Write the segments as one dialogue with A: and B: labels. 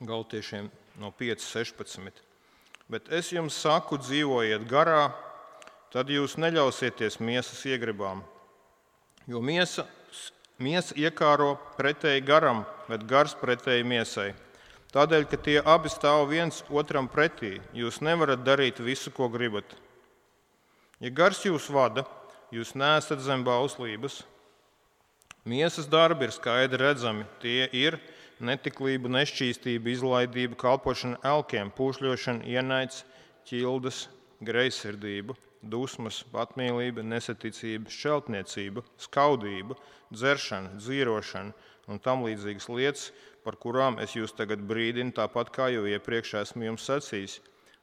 A: Galtiešiem no 5.16. Bet es jums saku, dzīvojiet garā, tad jūs neļausieties miesas iegribām. Jo miesa, miesa iekāro pretēji garam, bet gars pretēji miesai. Tādēļ, ka tie abi stāv viens otram pretī, jūs nevarat darīt visu, ko gribat. Ja gars jūs vada, jūs neesat zem bauslības. Miesas darbi ir skaidri redzami. Tie ir netiklība, nešķīstība, izlaidība, kalpošana elkiem, pūšļošana, ienaids, ķildes, greizsirdība, dusmas, patmīlība, nesaticība, šeltniecība, skaudība, dzeršana, dzīrošana un tam līdzīgas lietas, par kurām es jūs tagad brīdinu, tāpat kā jau iepriekš esmu jums sacījis.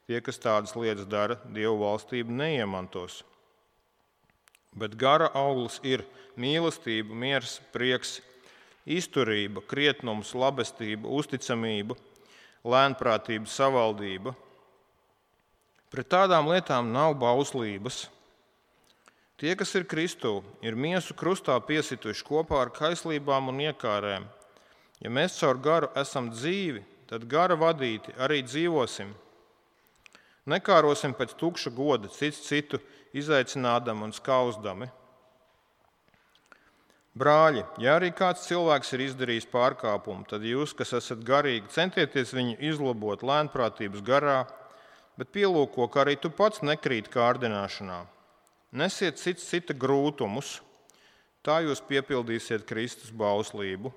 A: Tie, kas tādas lietas dara, Dievu valstību neiemantos. Bet gara auglis ir mīlestība, miers, prieks, izturība, krietnums, labestība, uzticamība, lēnprātība, savaldība. Pret tādām lietām nav bauslības. Tie, kas ir Kristū, ir miesu krustā piesituši kopā ar kaislībām un iekārēm. Ja mēs caur garu esam dzīvi, tad gara vadīti arī dzīvosim. Nekārosim pēc tukša goda cits citu izaicinādam un skauzdami. Brāļi, ja arī kāds cilvēks ir izdarījis pārkāpumu, tad jūs, kas esat garīgi, centieties viņu izlabot lēnprātības garā, bet pielūko, ka arī tu pats nekrīt kārdināšanā. Nesiet cits cita grūtumus, tā jūs piepildīsiet Kristus bauslību.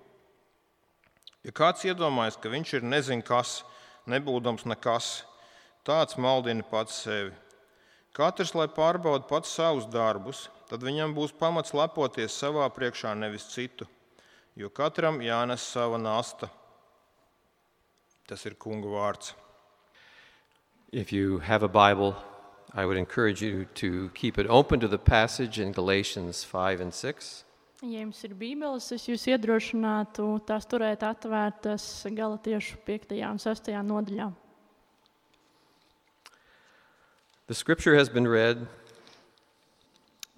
A: Ja kāds iedomājas, ka viņš ir nezin kas, nebūdams nekas, tāds maldina pats sevi. Katrs, lai pārbauda pats savus darbus, tad viņam būs pamats lepoties savā priekšā, nevis citu, jo katram jānes sava nasta. Tas ir kungu vārds.
B: If you have a Bible, I would encourage you to keep it open to the passage in Galatians 5 and 6.
C: Ja jums ir bībeles, es jūs iedrošinātu tās turēt atvērtas Galatiešu 5. un 6. nodaļā.
B: The scripture has been read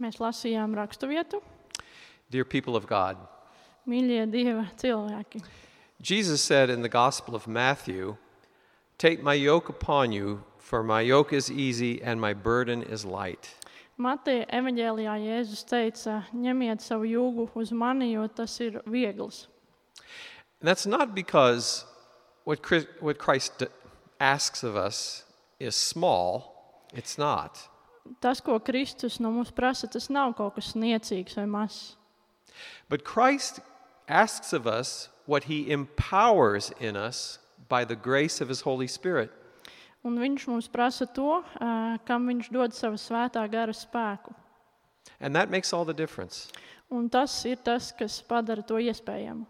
C: Mēs lasījām raksturvietu,
B: Dear people of God,
C: mīļie Dieva cilvēki.
B: Jesus said in the Gospel of Matthew, Take my yoke upon you, for my yoke is easy and my burden is light.
C: Mateja evaņģēlijā Jēzus teica: Ņemiet savu jūgu uz mani, jo tas ir viegls.
B: And that's not because what Chris, what Christ d- asks of us is small. It's not.
C: Tas, ko Kristus no mums prasa, tas nav kaut kas niecīgs vai mazs.
B: But Christ asks of us what he empowers in us by the grace of his Holy Spirit.
C: Un viņš mums prasa to, eh, kam viņš dod savu svētā gara spēku.
B: And that makes all the difference.
C: Un tas ir tas, kas padara to iespējamu.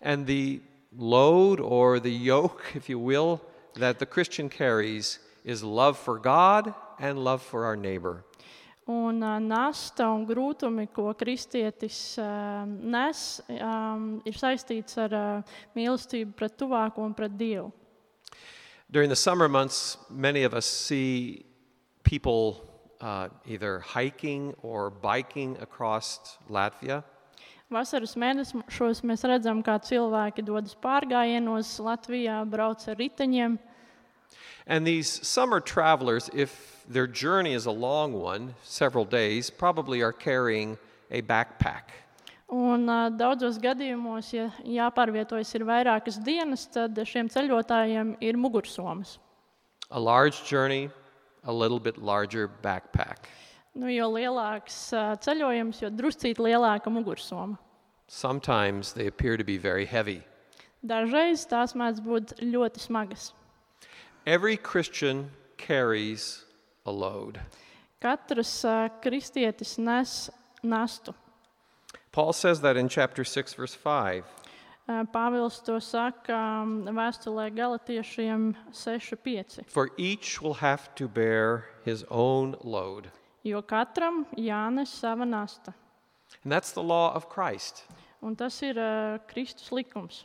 B: And the load or the yoke, if you will, that the Christian carries is love for God and love for our neighbor.
C: Un ā, nasta un grūtumi, ko kristietis ā, nes, ā, ir saistīts ar ā, mīlestību pret tuvāko un pret Dievu.
B: During the summer months, many of us see people uh, either hiking or biking across Latvia.
C: Vasaras mēnešos mēs redzam, kā cilvēki dodas pārgājienos Latvijā, brauc ar riteņiem.
B: And these summer travelers, if their journey is a long one, several days, probably are carrying a backpack.
C: Un, ā, daudzos gadījumos, ja jāpārvietojas ir vairākas dienas, tad šiem ceļotājiem ir mugursomas.
B: A large journey, a little bit larger backpack.
C: Nu, jo lielāks ā, ceļojums, jo druscīt lielāka mugursoma.
B: Sometimes they appear to be very heavy.
C: Dažreiz tās mēdz būt ļoti smagas.
B: Every Christian carries a load.
C: Katrs ā, kristietis nes nastu.
B: Paul says that in chapter 6, verse 5.
C: Ā, Pāvils to saka ā, vēstulē Galatiešiem 6,5.
B: For each will have to bear his own load.
C: Jo katram jānes sava nasta.
B: And that's the law of Christ.
C: Un tas ir uh, Kristus likums.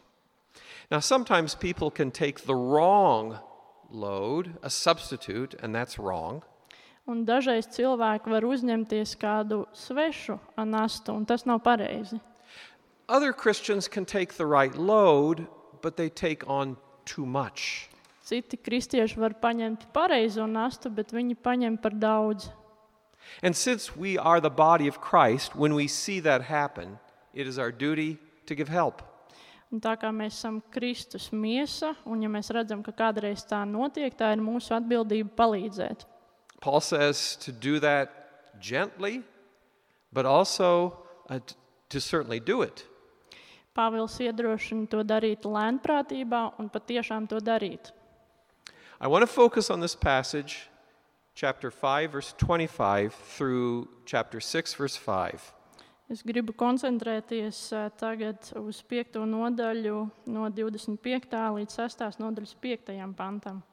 B: Now, sometimes people can take the wrong load, a substitute, and that's wrong.
C: Un dažreiz cilvēki var uzņemties kādu svešu ā, nastu, un tas nav pareizi.
B: Other Christians can take the right load, but they take on too much.
C: Citi kristieši var paņemt pareizo nastu, bet viņi paņem par daudz.
B: And since we are the body of Christ, when we see that happen, it is our duty to give help.
C: Un tā kā mēs esam Kristus miesa, un ja mēs redzam, ka kādreiz tā notiek, tā ir mūsu atbildība palīdzēt.
B: Paul says to do that gently, but also uh, t- to certainly do it.
C: Pāvils iedrošina to darīt lēnprātībā un patiešām to darīt.
B: I want to focus on this passage, chapter 5, verse 25, through chapter 6, verse 5.
C: Es gribu koncentrēties eh, tagad uz 5. nodaļu, no 25. līdz 6. nodaļas 5. pantam.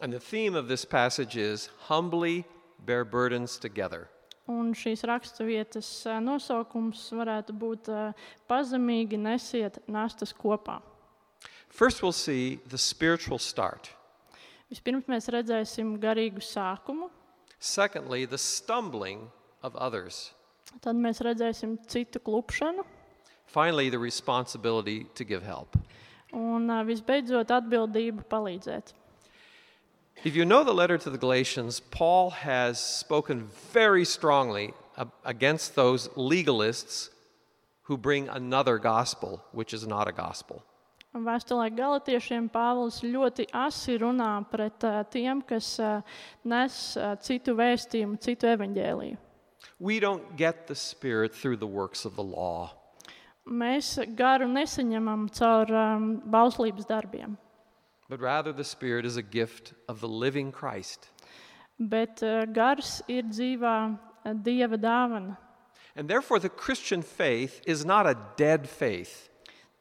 B: And the theme of this passage is humbly bear burdens together.
C: Un šīs raksturvietas eh, nosaukums varētu būt eh, pazemīgi nesiet nastas kopā.
B: First, we'll see the spiritual start.
C: Vispirms mēs redzēsim garīgu sākumu,
B: Secondly, the stumbling of others.
C: tad mēs redzēsim citu klupšanu,
B: Finally, the responsibility to give help.
C: un eh, visbeidzot atbildību palīdzēt.
B: If you know the letter to the Galatians, Paul has spoken very strongly ab- against those legalists who bring another gospel, which is not a gospel.
C: Vēstulē galotiešiem Pāvils ļoti asi runā pret eh, tiem, kas eh, nes eh, citu vēstījumu, citu evaņģēlīju.
B: We don't get the Spirit through the works of the law.
C: Mēs garu nesaņemam caur um, bauslības darbiem,
B: But rather, the Spirit is a gift of the living Christ.
C: bet eh, gars ir dzīvā eh, dieva dāvana.
B: And therefore, the Christian faith is not a dead faith.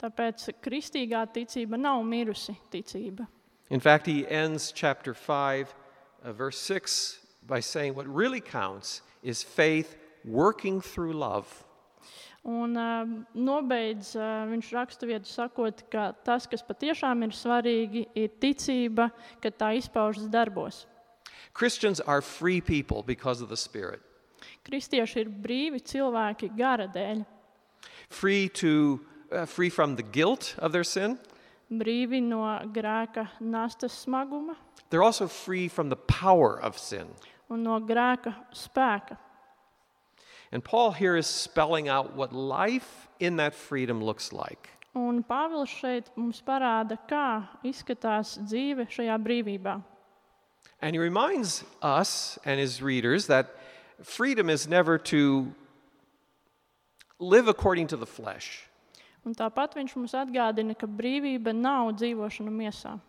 C: Tāpēc kristīgā ticība nav mirusi ticība.
B: In fact, he ends chapter 5, uh, verse 6, by saying what really counts is faith working through love.
C: Un uh, nobeidz uh, viņš raksturvietu sakot, ka tas, kas patiešām ir svarīgi, ir ticība, ka tā izpaužas darbos.
B: Christians are free people because of the Spirit,
C: Kristieši ir brīvi cilvēki gara dēļ,
B: free, to, uh, free from the guilt of their sin.
C: brīvi no grēka nastas smaguma
B: They're also free from the power of sin.
C: un no grēka spēka.
B: And Paul here is spelling out what life in that freedom looks like.
C: Un Pāvils šeit mums parāda, kā izskatās dzīve šajā brīvībā.
B: And he reminds us and his readers that freedom is never to live according to the flesh.
C: Un tāpat viņš mums atgādina, ka brīvība nav dzīvošana miesā.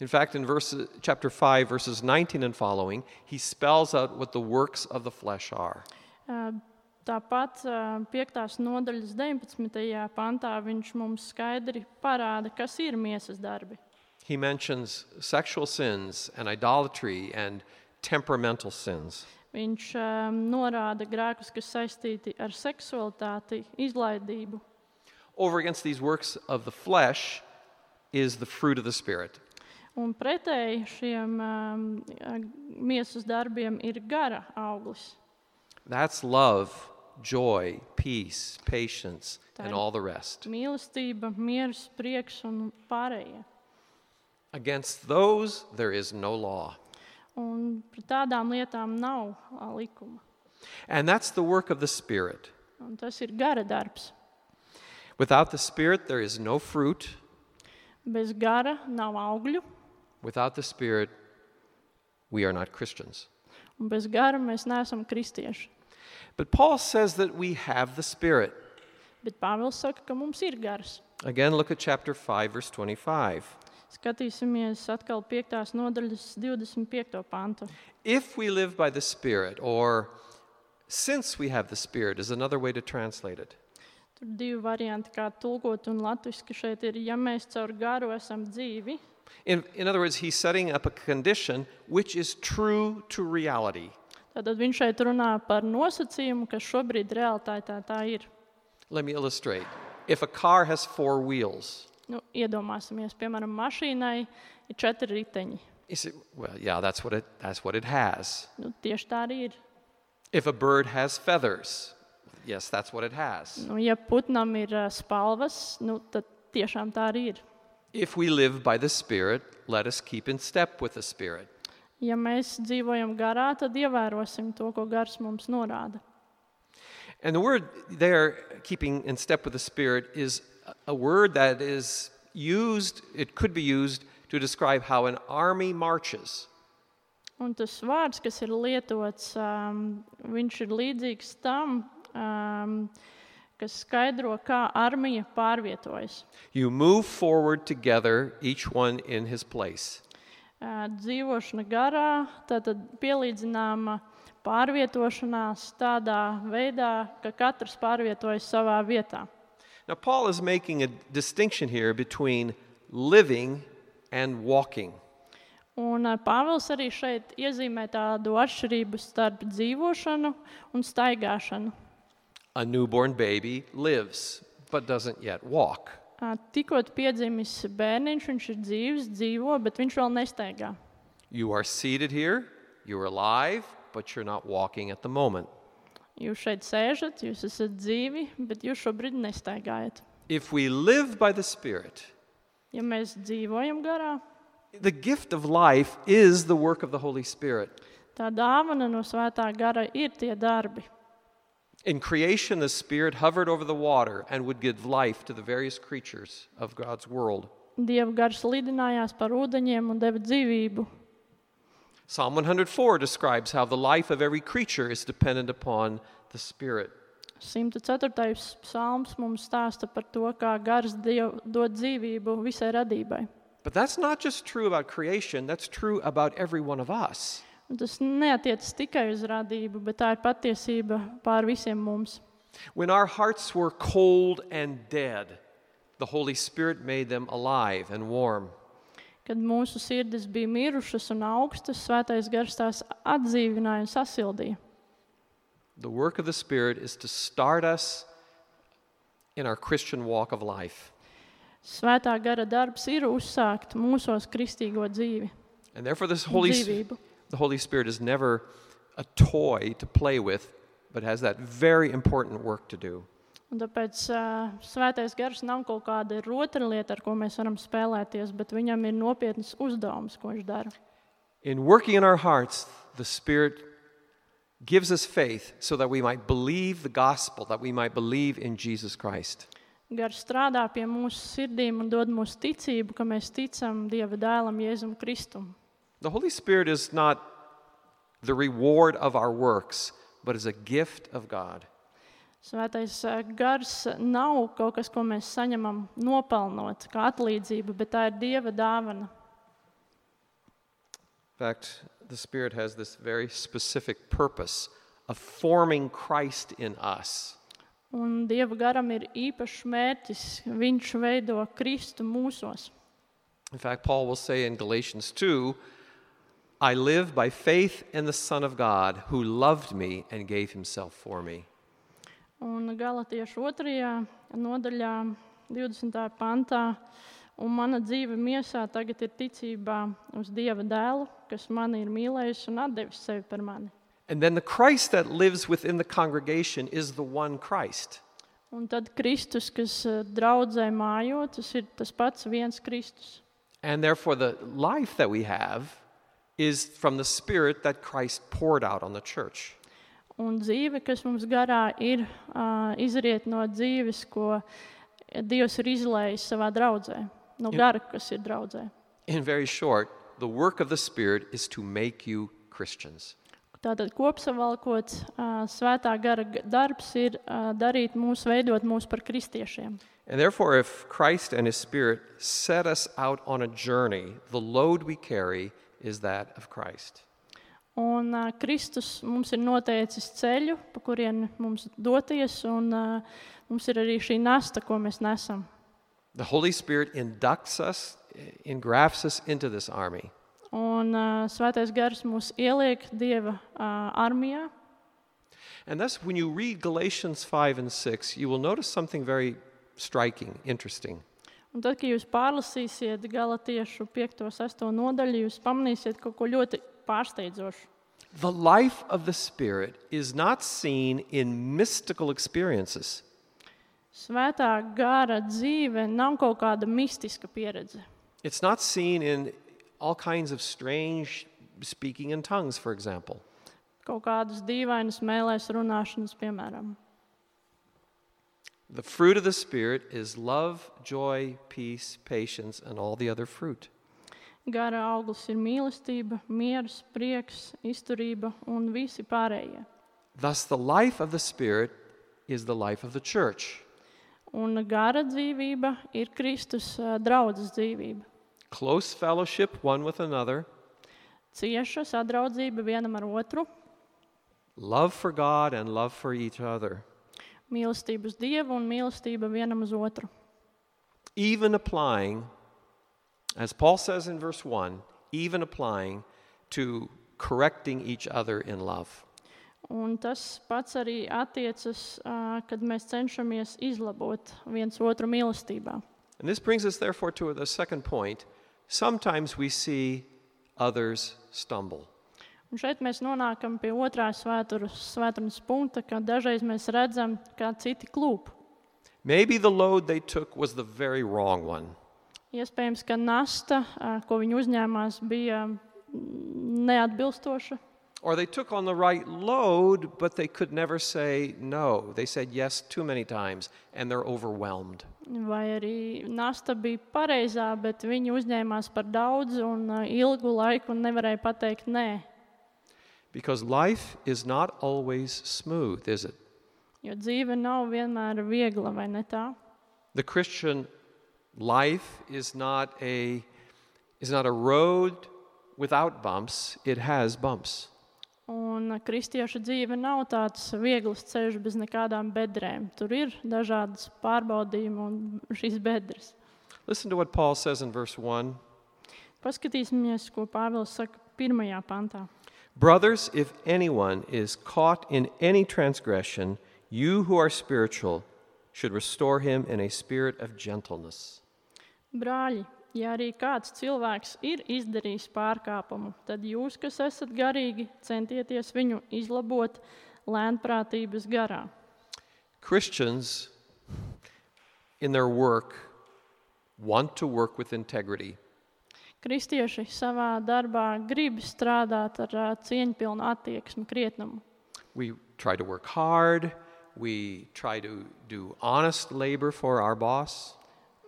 B: In fact, in verse, chapter 5, verses 19 and following, he spells out what the works of the flesh are.
C: Tāpat 5. nodaļas 19. pantā viņš mums skaidri parāda, kas ir miesas darbi.
B: He mentions sexual sins and idolatry and temperamental sins.
C: Viņš eh, norāda grēkus, kas saistīti ar seksualitāti, izlaidību.
B: Over against these works of the flesh is the fruit of the Spirit.
C: Un pretēji šiem eh, miesas darbiem ir gara auglis.
B: That's love, joy, peace, patience, and
C: Done.
B: all the rest.
C: Mīlestība, miers, prieks un pārējie.
B: Against those, there is no law.
C: Un pret tādām lietām nav eh, likuma.
B: And that's the work of the Spirit.
C: Un tas ir gara darbs.
B: Without the Spirit, there is no fruit.
C: Bez gara nav augļu,
B: Without the Spirit, we are not Christians.
C: un bez gara mēs neesam kristieši.
B: But Paul says that we have the Spirit.
C: Bet Pāvils saka, ka mums ir gars.
B: Again, look at chapter 5, verse 25.
C: Skatīsimies atkal 5. nodaļas 25. pantu.
B: If we live by the Spirit, or since we have the Spirit, is another way to translate it.
C: Tur ir divi varianti, kā tulkot, un latviešu šeit ir, ja mēs caur garu esam dzīvi.
B: In, in other words, he's setting up a condition which is true to reality.
C: Tad viņš šeit runā par nosacījumu, kas šobrīd realitātē tā ir.
B: Let me illustrate. If a car has four wheels,
C: Nu, iedomāsimies, piemēram, mašīnai ir četri riteņi.
B: You say, well, yeah, that's what it, that's what it has.
C: Nu, tieši tā arī ir.
B: If a bird has feathers, yes, that's what it has.
C: Nu, ja putnam ir ā, spalvas, nu, tad tiešām tā arī ir.
B: If we live by the Spirit, let us keep in step with the Spirit.
C: Ja mēs dzīvojam garā, tad ievērosim to, ko gars mums norāda.
B: And the word there, keeping in step with the Spirit, is a word that is used, it could be used to describe how an army marches.
C: Un tas vārds, kas ir lietots, um, viņš ir līdzīgs tam, um, kas skaidro, kā armija pārvietojas.
B: You move forward together, each one in his place.
C: Uh, dzīvošana garā, tātad pielīdzināma pārvietošanās tādā veidā, ka katrs pārvietojas savā vietā.
B: Now, Paul is making a distinction here between living and walking.
C: Un uh, Pāvils arī šeit iezīmē tādu atšķirību starp dzīvošanu un staigāšanu.
B: A newborn baby lives but doesn't yet walk.
C: Uh, Tikko piedzimis bērniņš, viņš ir dzīves, dzīvo, bet viņš vēl nestaigā.
B: You are seated here, you're alive, but you're not walking at the moment.
C: Jūs šeit sēžat, jūs esat dzīvi, bet jūs šobrīd nestaigājat.
B: If we live by the Spirit,
C: Ja mēs dzīvojam garā,
B: the gift of life is the work of the Holy Spirit.
C: tā dāvana no svētā gara ir tie darbi.
B: In creation, the Spirit hovered over the water and would give life to the various creatures of God's world.
C: Dieva gars lidinājās par ūdeņiem un deva dzīvību.
B: Psalm 104 describes how the life of every creature is dependent upon the Spirit.
C: 104. psalms mums stāsta par to, kā gars diev, dod dzīvību visai radībai.
B: But that's not just true about creation, that's true about every one of us.
C: Un tas neatiecas tikai uz radību, bet tā ir patiesība pār visiem mums.
B: When our hearts were cold and dead, the Holy Spirit made them alive and warm.
C: Kad mūsu sirdis bija mirušas un augstas, svētais gars tās atdzīvināja un sasildīja.
B: The work of the Spirit is to start us in our Christian walk of life.
C: Svētā gara darbs ir uzsākt mūsos kristīgo dzīvi.
B: And therefore, this Holy,
C: Dzīvību.
B: the Holy Spirit is never a toy to play with, but has that very important work to do.
C: Un tāpēc uh, svētais gars nav kaut kāda rotaļlieta, ar ko mēs varam spēlēties, bet viņam ir nopietnas uzdevums, ko viņš dara.
B: In working in our hearts, the Spirit gives us faith so that we might believe the gospel, that we might believe in Jesus Christ.
C: Gars strādā pie mūsu sirdīm un dod mums ticību, ka mēs ticam Dieva dēlam, Jēzum Kristum.
B: The Holy Spirit is not the reward of our works, but is a gift of God.
C: Svētais uh, gars nav kaut kas, ko mēs saņemam nopelnot, kā atlīdzība, bet tā ir Dieva dāvana.
B: In fact, the Spirit has this very specific purpose of forming Christ in us.
C: Un Dieva garam ir īpašs mērķis. Viņš veido Kristu mūsos.
B: In fact, Paul will say in Galatians 2 I live by faith in the Son of God who loved me and gave himself for me.
C: Un Galatiešu 2. nodaļā, 20. pantā, un mana dzīve miesā tagad ir ticībā uz Dieva dēlu, kas mani ir mīlējis un devis sevi par mani.
B: And then the Christ that lives within the congregation is the one Christ.
C: Un tad Kristus, kas eh, draudzē mājo, tas ir tas pats viens Kristus.
B: And therefore, the life that we have is from the Spirit that Christ poured out on the church.
C: Un dzīve, kas mums garā ir, ah, izriet no dzīves, ko Dievs ir izlējis savā draudzē, no gara, kas ir draudzē.
B: In very short, the work of the Spirit is to make you Christians.
C: Tātad kopsavalkot, ā, svētā gara g- darbs ir ā, darīt mūs, veidot mūs par kristiešiem.
B: And therefore, if Christ and His Spirit set us out on a journey, the load we carry is that of Christ.
C: Un ā, Kristus mums ir noteicis ceļu, pa kurien mums doties, un ā, mums ir arī šī nasta, ko mēs nesam.
B: The Holy Spirit inducts us, engrafts us into this army.
C: Un ā, svētais gars mūs ieliek Dieva ā, armijā.
B: And thus, when you read Galatians 5 and 6, you will notice something very striking, interesting.
C: Un tad, kad jūs pārlasīsiet galotiešu 5. un 6. nodaļu, jūs pamanīsiet kaut ko ļoti pārsteidzošu.
B: The life of the Spirit is not seen in mystical experiences.
C: Svētā gara dzīve nav kaut kāda mistiska pieredze.
B: It's not seen in all kinds of strange speaking in tongues, for example.
C: Kaut kādas dīvainas mēlēs, runāšanas, piemēram.
B: The fruit of the Spirit is love, joy, peace, patience, and all the other fruit.
C: Gara auglis ir mīlestība, miers, prieks, izturība un visi pārējie.
B: Thus, the life of the Spirit is the life of the church.
C: Un gara dzīvība ir Kristus eh, draudzes dzīvība.
B: Close fellowship one with another,
C: Cieša sadraudzība vienam ar otru,
B: love for God and love for each other,
C: mīlestība uz Dievu un mīlestība vienam uz otru.
B: even applying, as Paul says in verse 1, even applying to correcting each other in love.
C: Un tas pats arī attiecas, ā, kad mēs cenšamies izlabot viens otru mīlestībā.
B: And this brings us, therefore, to the second point. Sometimes we see others stumble.
C: Un šeit mēs nonākam pie otrā svētdienas svētdienas punkta, kad dažreiz mēs redzam, kā citi klūp.
B: Maybe the load they took was the very wrong one.
C: Iespējams, ka nasta, ā, ko viņi uzņēmās, bija mm, neatbilstoša.
B: Or they took on the right load, but they could never say no. They said yes too many times, and they're overwhelmed.
C: Vai arī nasta bija pareizā, bet viņi uzņēmās par daudz un ā, ilgu laiku un nevarēja pateikt nē.
B: Because life is not always smooth, is it?
C: Jo dzīve nav vienmēr viegla, vai ne tā?
B: The Christian life is not a, is not a road without bumps, it has bumps.
C: Un ā, kristieša dzīve nav tāds viegls ceļš bez nekādām bedrēm. Tur ir dažādas pārbaudījumi un šīs bedres.
B: Listen to what Paul says in verse 1.
C: Paskatīsimies, ko Pāvils saka pirmajā pantā.
B: Brothers, if anyone is caught in any transgression, you who are spiritual should restore him in a spirit of gentleness.
C: Brāļi, ja arī kāds cilvēks ir izdarījis pārkāpumu, tad jūs, kas esat garīgi, centieties viņu izlabot lēnprātības garā.
B: Christians, in their work, want to work with integrity.
C: Kristieši savā darbā grib strādāt ar ā, cieņpilnu attieksmi, krietnumu.
B: We try to work hard, we try to do honest labor for our boss,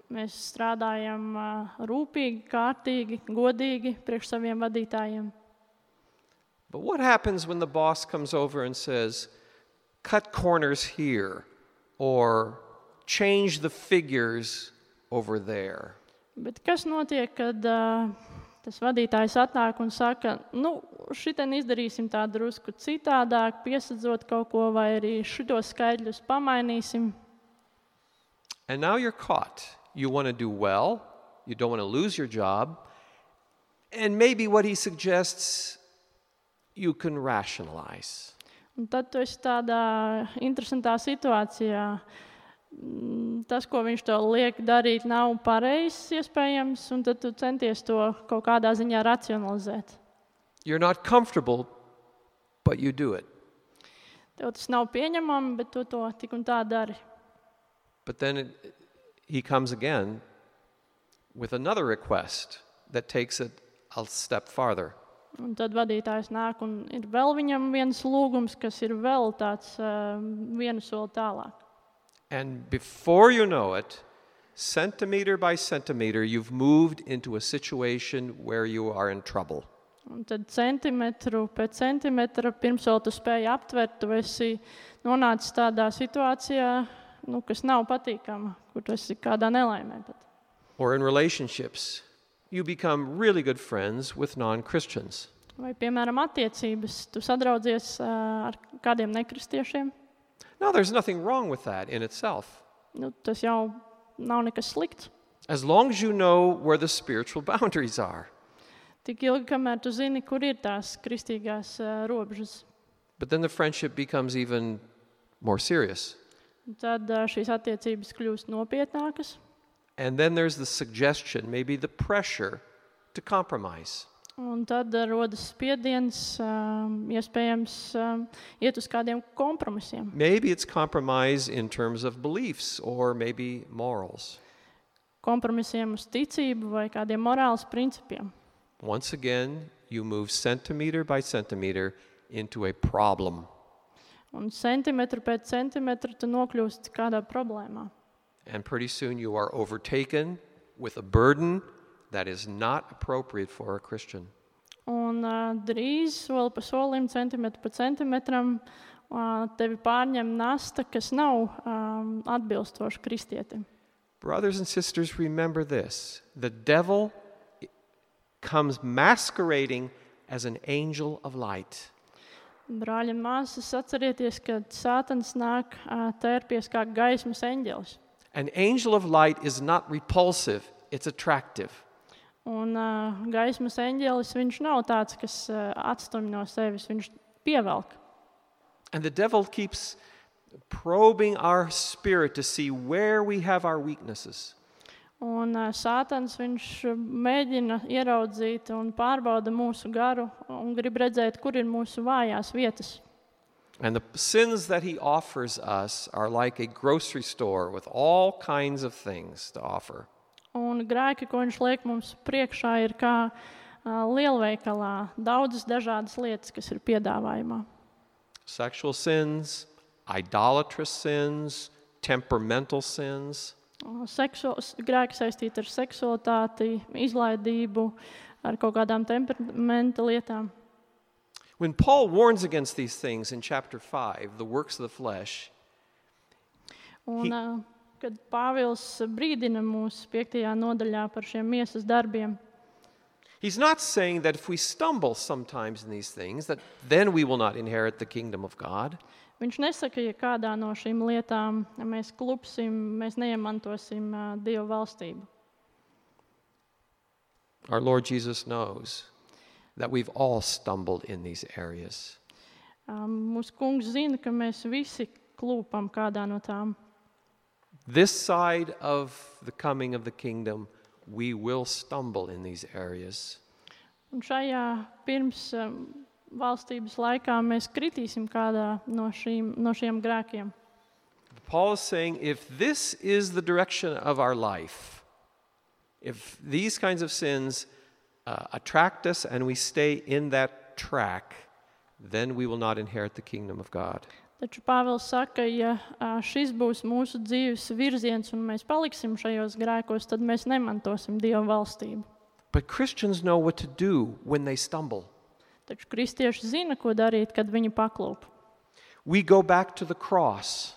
C: Mēs strādājam ā, rūpīgi, kārtīgi, godīgi priekš saviem vadītājiem.
B: But what happens when the boss comes over and says, cut corners here or change the figures over there?
C: Bet kas notiek, kad uh, tas vadītājs atnāk un saka, nu, šitien izdarīsim tā drusku citādāk, piesadzot kaut ko, vai arī šitos skaidrļus pamainīsim?
B: And now you're caught. You want to do well, you don't want to lose your job, and maybe what he suggests you can rationalize.
C: Un tad tu esi tādā interesantā situācijā. Mm, Tas, ko viņš tev liek darīt, nav pareizs, iespējams, un tad tu centies to kaut kādā ziņā racionalizēt.
B: You're not comfortable, but you do it.
C: Tev tas nav pieņemami, bet tu to tik un tā dari.
B: But then it, he comes again with another request that takes it a step farther.
C: Un tad vadītājs nāk un ir vēl viņam viens lūgums, kas ir vēl tāds uh, vienu soli tālāk.
B: And before you know it, centimeter by centimeter, you've moved into a situation where you are in trouble.
C: Un tad centimetru pēc centimetra, pirms vēl tu spēji aptvert, tu esi nonācis tādā situācijā, nu, kas nav patīkama, kur tu esi kādā nelaimē. Pat.
B: Or in relationships, you become really good friends with non Christians.
C: Vai, piemēram, attiecības, tu sadraudzies uh, ar kādiem nekristiešiem.
B: Now, there's nothing wrong with that in itself,
C: Nu, tas jau nav nekas slikts.
B: as long as you know where the spiritual boundaries are.
C: Tik ilgi, kamēr tu zini, kur ir tās kristīgās uh, robežas.
B: But then the friendship becomes even more serious.
C: Un Tad ā, šīs attiecības kļūst nopietnākas.
B: And then there's the suggestion, maybe the pressure to compromise.
C: Un tad eh, rodas spiediens, eh, iespējams, eh, iet uz kādiem kompromisiem.
B: Maybe it's compromise in terms of beliefs or maybe morals.
C: Kompromisiem uz ticību vai kādiem morāles principiem.
B: Once again, you move centimeter by centimeter into a problem.
C: Un centimetru pēc centimetra tu nokļūsti kādā problēmā.
B: And pretty soon you are overtaken with a burden that is not appropriate for a Christian.
C: Un uh, drīz, soli pa solim, centimetru pa centimetram, uh, tevi pārņem nasta, kas nav um, atbilstoša kristietim.
B: Brothers and sisters, remember this the devil comes masquerading as an angel of light.
C: Brāļi un māsas, atcerieties, ka Sātans nāk uh, tērpies kā gaismas eņģelis.
B: An angel of light is not repulsive, it's attractive.
C: Un uh, gaismas eņģelis viņš nav tāds, kas uh, atstumj no sevis, viņš pievelk.
B: And the devil keeps probing our spirit to see where we have our weaknesses.
C: Un uh, Sātans viņš uh, mēģina ieraudzīt un pārbauda mūsu garu un grib redzēt, kur ir mūsu vājās vietas.
B: And the sins that he offers us are like a grocery store with all kinds of things to offer.
C: Un grēki, ko viņš liek mums priekšā, ir kā uh, lielveikalā daudzas dažādas lietas, kas ir piedāvājumā.
B: sexual sins, idolatrous sins, temperamental sins.
C: Uh, Seksu, s- grēki saistīti ar seksualitāti, izlaidību, ar kaut kādām temperamenta lietām.
B: When Paul warns against these things in chapter 5, the works of the flesh,
C: Un, uh, kad Pāvils brīdina mūs 5. nodaļā par šiem miesas darbiem,
B: he's not saying that if we stumble sometimes in these things, that then we will not inherit the kingdom of God.
C: viņš nesaka, ja kādā no šīm lietām mēs klupsim, mēs neiemantosim uh, Dieva valstību.
B: Our Lord Jesus knows that we've all stumbled in these areas.
C: Um, Mūsu kungs zina, ka mēs visi klūpam kādā no tām.
B: This side of the coming of the kingdom, we will stumble in these areas.
C: Un šajā pirms um, valstības laikā mēs kritīsim kādā no, šīm, no šiem grēkiem.
B: Paul is saying if this is the direction of our life, if these kinds of sins uh, attract us and we stay in that track, then we will not inherit the kingdom of God.
C: Taču Pāvils saka, ja ā, šis būs mūsu dzīves virziens un mēs paliksim šajos grēkos, tad mēs nemantosim Dieva valstību.
B: But Christians know what to do when they stumble.
C: Taču kristieši zina, ko darīt, kad viņi paklūp.
B: We go back to the cross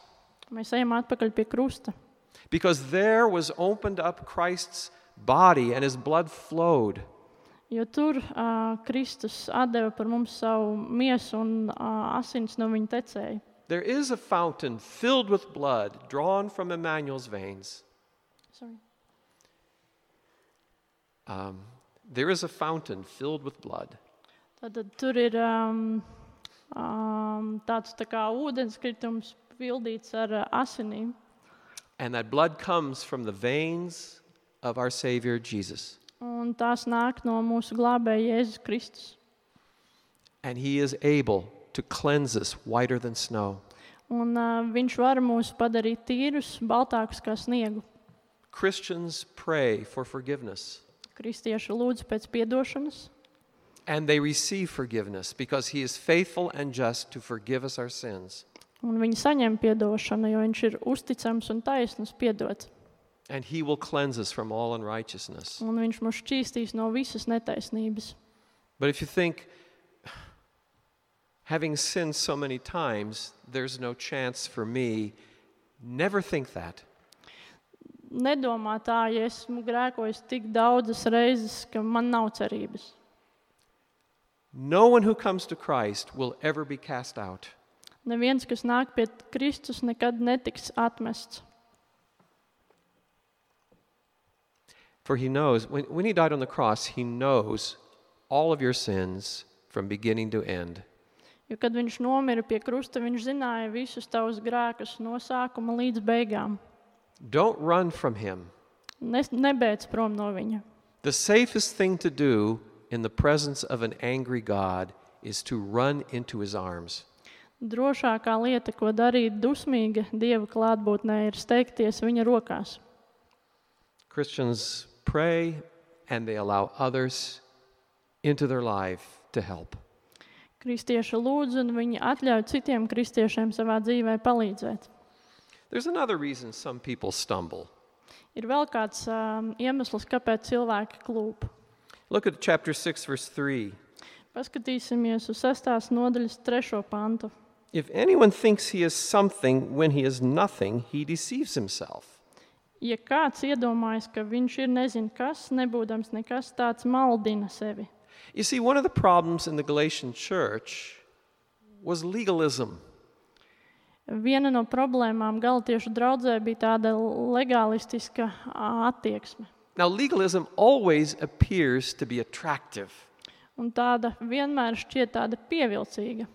C: Mēs ejam atpakaļ pie krusta,
B: because there was opened up Christ's body and his blood flowed.
C: jo tur uh, Kristus atdeva par mums savu miesu un uh, asins no viņa tecēja.
B: There is a fountain filled with blood drawn from Emmanuel's veins.
C: Sorry.
B: Um, there is a fountain filled with blood.
C: Tātad tur ir um, um, tāds tā kā ūdenskritums, pildīts ar uh, asinīm.
B: And that blood comes from the veins of our Savior Jesus.
C: Un tās nāk no mūsu glābēja Jēzus Kristus.
B: And He is able to cleanse us whiter than snow.
C: Un, uh, viņš var mūs padarīt tīrus, baltākus kā sniegu.
B: Christians pray for forgiveness,
C: Kristieši lūdz pēc atdošanas,
B: and they receive forgiveness because He is faithful and just to forgive us our sins.
C: un viņi saņem atdošanu, jo viņš ir uzticams un taisnīgs piedot.
B: And He will cleanse us from all unrighteousness.
C: Un viņš mūs šķīstīs no visas netaisnības.
B: But if you think, having sinned so many times, there's no chance for me, never think that.
C: Nedomā tā, ja esmu grēkojis tik daudzas reizes, ka man nav cerības.
B: No one who comes to Christ will ever be cast out.
C: Neviens, kas nāk pie Kristus, nekad netiks atmests.
B: For he knows, when, when he died on the cross, he knows all of your sins from beginning to end.
C: Jo, kad viņš nomira pie krusta, viņš zināja visus tavus grēkus no sākuma līdz beigām.
B: Don't run from him.
C: Nes- Nebeidz prom no viņa.
B: The safest thing to do in the presence of an angry God is to run into his arms.
C: Drošākā lieta, ko darīt dusmīga dieva klātbūtnē, ir steigties viņa rokās.
B: Christians pray and they allow others into their life to help.
C: Kristieši lūdz, un viņi atļauj citiem kristiešiem savā dzīvē palīdzēt.
B: There's another reason some people stumble.
C: Ir vēl kāds um, iemesls, kāpēc cilvēki klūp.
B: Look at chapter 6, verse 3.
C: Paskatīsimies uz 6. nodaļas 3. pantu.
B: If anyone thinks he is something when he is nothing, he deceives himself.
C: Ja kāds iedomājas, ka viņš ir nezināms, kas, nebūdams nekas tāds, maldina sevi.
B: You see, one of the problems in the Galatian church was legalism.
C: Viena no problēmām Galatiešu draudzē bija tāda legalistiska attieksme.
B: Now, legalism always appears to be attractive
C: Un tāda vienmēr šķiet tāda pievilcīga.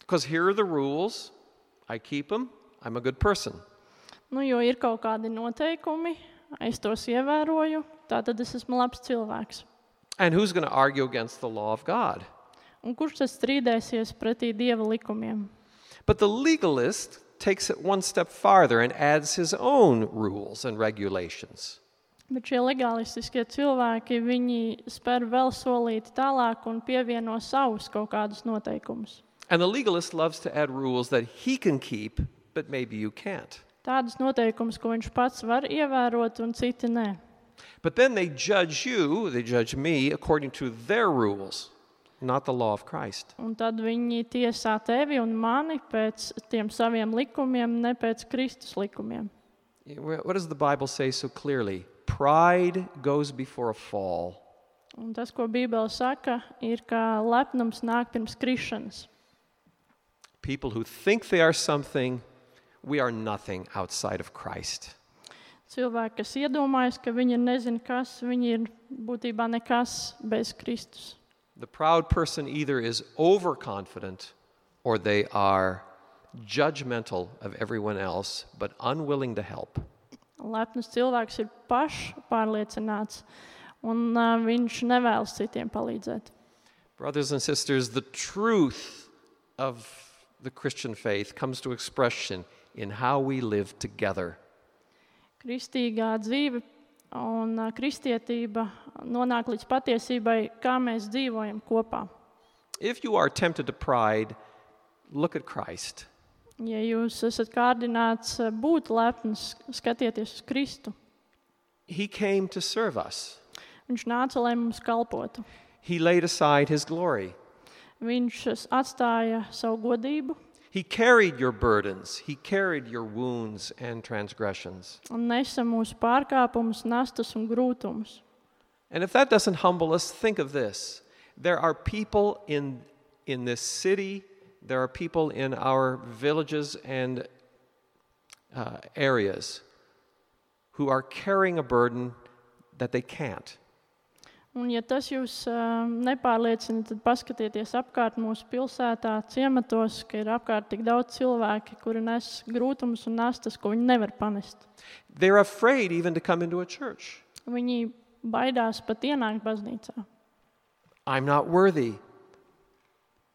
B: because here are the rules. I keep them. I'm a good person.
C: Nu, jo ir kaut kādi noteikumi, es tos ievēroju, tad es esmu labs cilvēks.
B: And who's going to argue against the law of God?
C: Un kurš tad strīdēsies pretī dieva likumiem?
B: But the legalist takes it one step farther and adds his own rules and regulations.
C: Bet šie legalistiskie cilvēki, viņi spēr vēl solīti tālāk un pievieno savus kaut kādus noteikumus.
B: And the legalist loves to add rules that he can keep, but maybe you can't.
C: Tādus noteikumus, ko viņš pats var ievērot, un citi nē.
B: But then they judge you, they judge me, according to their rules, not the law of Christ.
C: Un tad viņi tiesā tevi un mani pēc tiem saviem likumiem, ne pēc Kristus likumiem.
B: What does the Bible say so clearly? Pride goes before a fall.
C: Un tas, ko Bībele saka, ir, ka lepnums nāk pirms krišanas.
B: People who think they are something, we are nothing outside of Christ.
C: Cilvēki, kas iedomājas, ka viņi ir nezina, kas viņi ir būtībā nekas bez Kristus.
B: The proud person either is overconfident or they are judgmental of everyone else, but unwilling to help.
C: Lepns cilvēks ir pašpārliecināts, un uh, viņš nevēlas citiem palīdzēt.
B: Brothers and sisters, the truth of the Christian faith comes to expression in how we live together.
C: Kristīgā dzīve un uh, kristietība nonāk līdz patiesībai, kā mēs dzīvojam kopā.
B: If you are tempted to pride, look at Christ.
C: Ja jūs esat kārdināts uh, būt lepns, skatieties uz Kristu.
B: He came to serve us,
C: Viņš nāca, lai mums kalpotu.
B: He laid aside His glory.
C: Viņš uh, atstāja savu godību,
B: He carried your burdens, He carried your wounds and transgressions.
C: un nesa mūsu pārkāpumus, nastas un grūtumus.
B: And if that doesn't humble us, think of this. There are people in, in this city, there are people in our villages and uh, areas who are carrying a burden that they can't.
C: Un, ja tas jūs ā, nepārliecina, tad paskatieties apkārt mūsu pilsētā, ciematos, ka ir apkārt tik daudz cilvēku, kuri nes grūtumus un nastas, ko viņi nevar panest.
B: They're afraid even to come into a church.
C: Viņi baidās pat ienākt baznīcā.
B: I'm not worthy.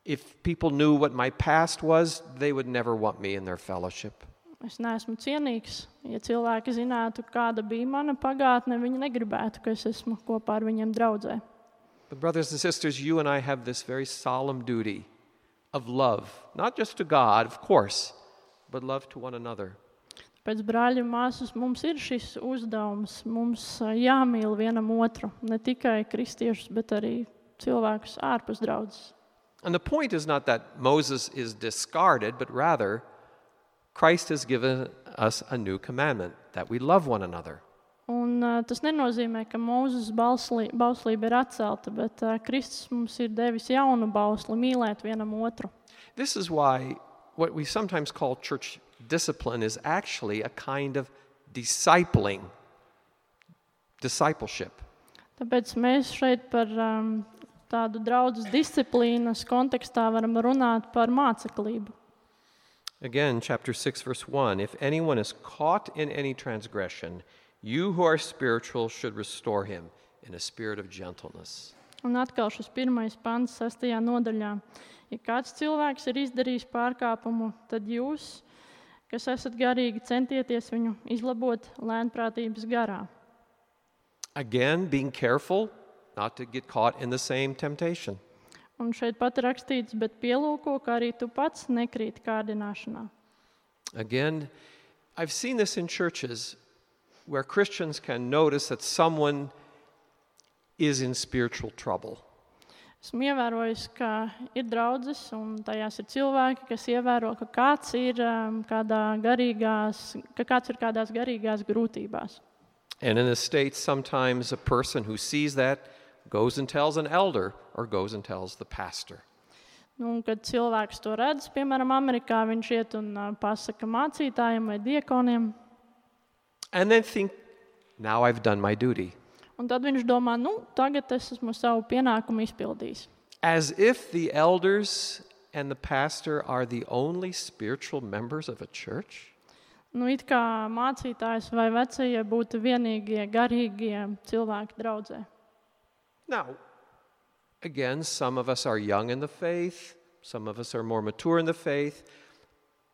B: If people knew what my past was, they would never want me in their fellowship.
C: Es neesmu cienīgs. Ja cilvēki zinātu, kāda bija mana pagātne, viņi negribētu, ka es esmu kopā ar viņiem draudzē.
B: But, brothers and sisters, you and I have this very solemn duty of love, not just to God, of course, but love to one another.
C: Pēc brāļa māsas mums ir šis uzdevums. Mums ā, jāmīl vienam otru, ne tikai kristiešus, bet arī cilvēkus ārpus draudzes.
B: And the point is not that Moses is discarded, but rather, Christ has given us a new commandment that we love one another.
C: Un, uh, tas nenozīmē, ka Mūzes bauslī, bauslība ir atcelta, bet uh, Kristus mums ir devis jaunu bausli mīlēt vienam otru.
B: This is why what we sometimes call church discipline is actually a kind of discipling, discipleship.
C: Tāpēc mēs šeit par um, tādu draudzes disciplīnas kontekstā varam runāt par māceklību.
B: Again, chapter 6, verse 1 If anyone is caught in any transgression, you who are spiritual should restore him in a spirit of gentleness.
C: Un atkal šis pirmais pants, sastajā nodaļā. Ja kāds cilvēks ir izdarījis pārkāpumu, tad jūs, kas esat garīgi, centieties viņu izlabot lēnprātības garā.
B: Again, being careful not to get caught in the same temptation.
C: Un šeit pat ir rakstīts, bet pielūko, ka arī tu pats nekrīt kārdināšanā.
B: Again, I've seen this in churches where Christians can notice that someone is in spiritual trouble.
C: Esmu ievērojis, ka ir draudzes, un tajās ir cilvēki, kas ievēro, ka kāds ir, um, kādā garīgās, ka kāds ir kādās garīgās grūtībās.
B: And in the States, sometimes a person who sees that goes and tells an elder or goes and tells the pastor.
C: Nu, Un, kad cilvēks to redz, piemēram, Amerikā, viņš iet un uh, pasaka mācītājiem vai diekoniem,
B: And then think, now I've done my duty.
C: un tad viņš domā, nu, tagad es esmu savu pienākumu izpildījis.
B: As if the elders and the pastor are the only spiritual members of a church?
C: Nu, it kā mācītājs vai vecie būtu vienīgie garīgie cilvēki draudzē.
B: Now, again, some of us are young in the faith, some of us are more mature in the faith,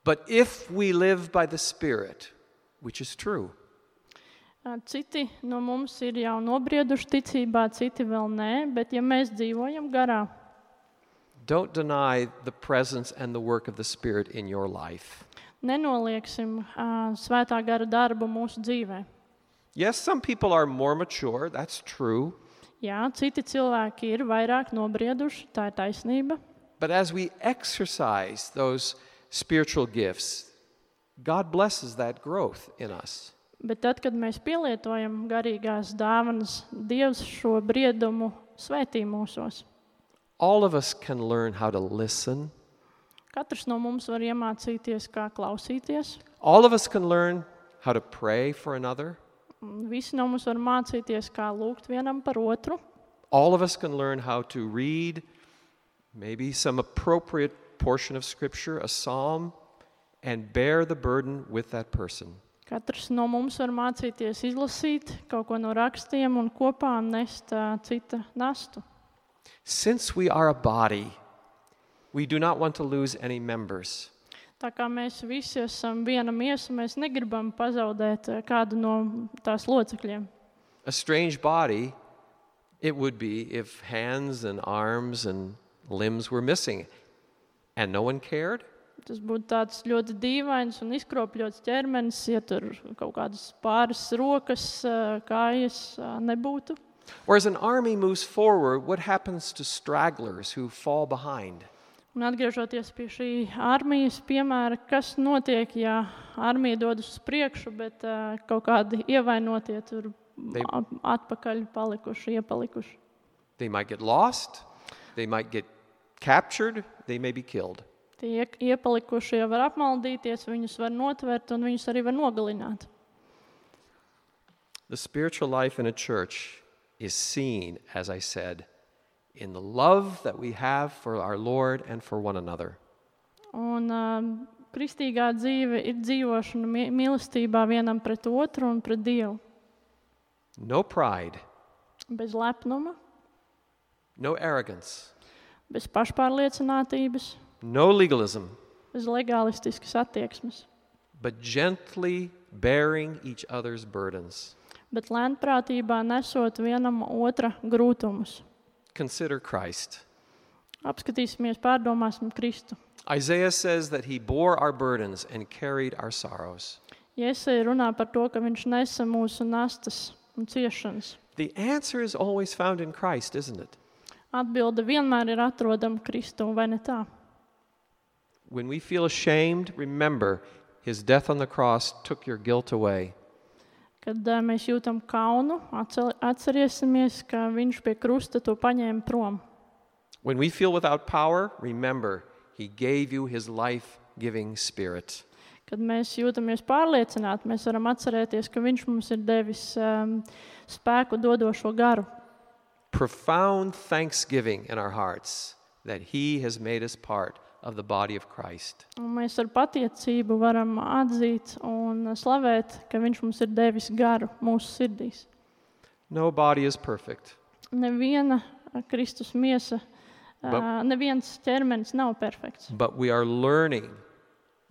B: but if we live by the Spirit, which is true,
C: Ā, Citi no mums ir jau nobrieduši ticībā, citi vēl nē, bet ja mēs dzīvojam garā,
B: don't deny the presence and the work of the Spirit in your life.
C: nenolieksim ā, svētā gara darbu mūsu dzīvē.
B: Yes, some people are more mature, that's true,
C: Jā, citi cilvēki ir vairāk nobrieduši, tā ir taisnība.
B: but as we exercise those spiritual gifts, God blesses that growth in us.
C: Bet tad, kad mēs pielietojam garīgās dāvanas, Dievs šo briedumu svētī mūsos.
B: All of us can learn how to listen.
C: Katrs no mums var iemācīties, kā klausīties.
B: All of us can learn how to pray for another.
C: un Visi no mums var mācīties, kā lūgt vienam par otru.
B: All of us can learn how to read maybe some appropriate portion of Scripture, a psalm, and bear the burden with that person.
C: Katrs no mums var mācīties izlasīt kaut ko no rakstiem un kopā nest ā, cita nastu.
B: Since we are a body, we do not want to lose any members.
C: Tā kā mēs visi esam viena miesa, mēs negribam pazaudēt ā, kādu no tās locekļiem.
B: A strange body it would be if hands and arms and limbs were missing and no one cared.
C: Tas būtu tāds ļoti dīvains un izkropļots ķermenis, ja tur kaut kādas pāris rokas, ā, kājas ā, nebūtu.
B: Or as an army moves forward, what happens to stragglers who fall behind?
C: Un atgriežoties pie šī armijas piemēra, kas notiek, ja armija dodas uz priekšu, bet ā, kaut kādi ievainotie tur
B: They-
C: ap- atpakaļ palikuši, iepalikuši.
B: They might get lost, they might get captured, they may be killed.
C: Tie iek- iepalikušie var apmaldīties, viņus var notvert un viņus arī var nogalināt.
B: The spiritual life in a church is seen, as I said, in the love that we have for our Lord and for one another.
C: Un, ā, kristīgā dzīve ir dzīvošana mie- mīlestībā vienam pret otru un pret Dievu.
B: No pride,
C: Bez lepnuma,
B: no arrogance,
C: bez pašpārliecinātības,
B: no legalism,
C: bez legālistiskas attieksmes,
B: but gently bearing each other's burdens.
C: bet lēnprātībā nesot vienam otra grūtumus.
B: Consider Christ.
C: Apskatīsimies, pārdomāsim Kristu.
B: Isaiah says that he bore our burdens and carried our sorrows.
C: Iesai runā par to, ka viņš nesa mūsu nastas un ciešanas.
B: The answer is always found in Christ, isn't it?
C: Atbilde vienmēr ir atrodama Kristu, vai ne tā?
B: When we feel ashamed, remember his death on the cross took your guilt away.
C: Kad ā, mēs jūtam kaunu, atcer- atcerēsimies, ka viņš pie krusta to paņēma prom.
B: When we feel without power, remember he gave you his life giving spirit.
C: Kad mēs jūtamies pārliecināti, mēs varam atcerēties, ka viņš mums ir devis um, spēku dodošo garu.
B: Profound thanksgiving in our hearts that he has made us part of the body of Christ.
C: Un mēs ar patiecību varam atzīt un slavēt, ka viņš mums ir devis garu mūsu sirdīs.
B: No body is perfect,
C: Neviena Kristus miesa.
B: Ba-
C: Uh, neviens ķermenis nav perfekts.
B: But we are learning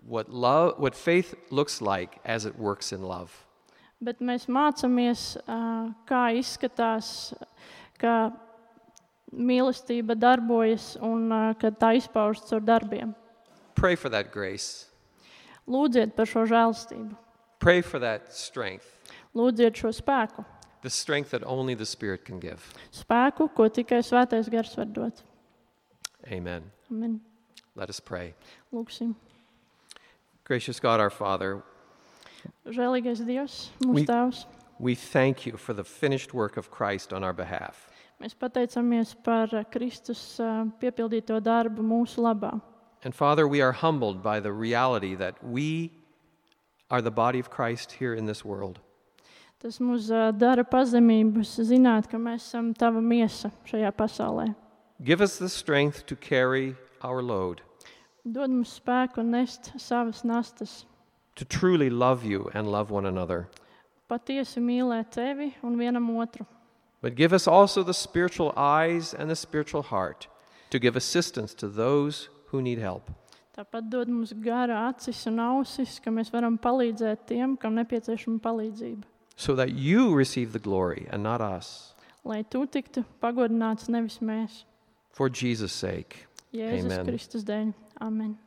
B: what love what faith looks like as it works in love.
C: Bet mēs mācāmies, ā, kā izskatās, ka mīlestība darbojas un ā, ka tā izpaužas ar darbiem.
B: Pray for that grace.
C: Lūdziet par šo žēlstību,
B: Pray for that strength,
C: lūdziet šo spēku.
B: the strength that only the Spirit can give.
C: Spēku, ko tikai svētais gars var dot.
B: Amen.
C: Amen.
B: Let us pray.
C: Lūksim.
B: Gracious God, our Father,
C: Žēlīgais Dievs,
B: We-
C: mūsu Tēvs,
B: we thank you for the finished work of Christ on our behalf.
C: mēs pateicamies par ā, Kristus ā, piepildīto darbu mūsu labā.
B: And Father, we are humbled by the reality that we are the body of Christ here in this world.
C: Tas mums ā, dara pazemības, zināt, ka mēs esam Tava miesa šajā pasaulē.
B: Give us the strength to carry our load,
C: Dod mums spēku nest savas nastas,
B: to truly love you and love one another.
C: patiesi mīlēt tevi un vienam otru.
B: But give us also the spiritual eyes and the spiritual heart to give assistance to those who need help.
C: Tāpat dod mums gara acis un ausis, ka mēs varam palīdzēt tiem, kam nepieciešama palīdzība.
B: so that you receive the glory and not us.
C: Lai tu tiktu pagodināts nevis mēs.
B: For Jesus' sake.
C: Jēzus
B: Amen.
C: Kristus dēļ. Amen.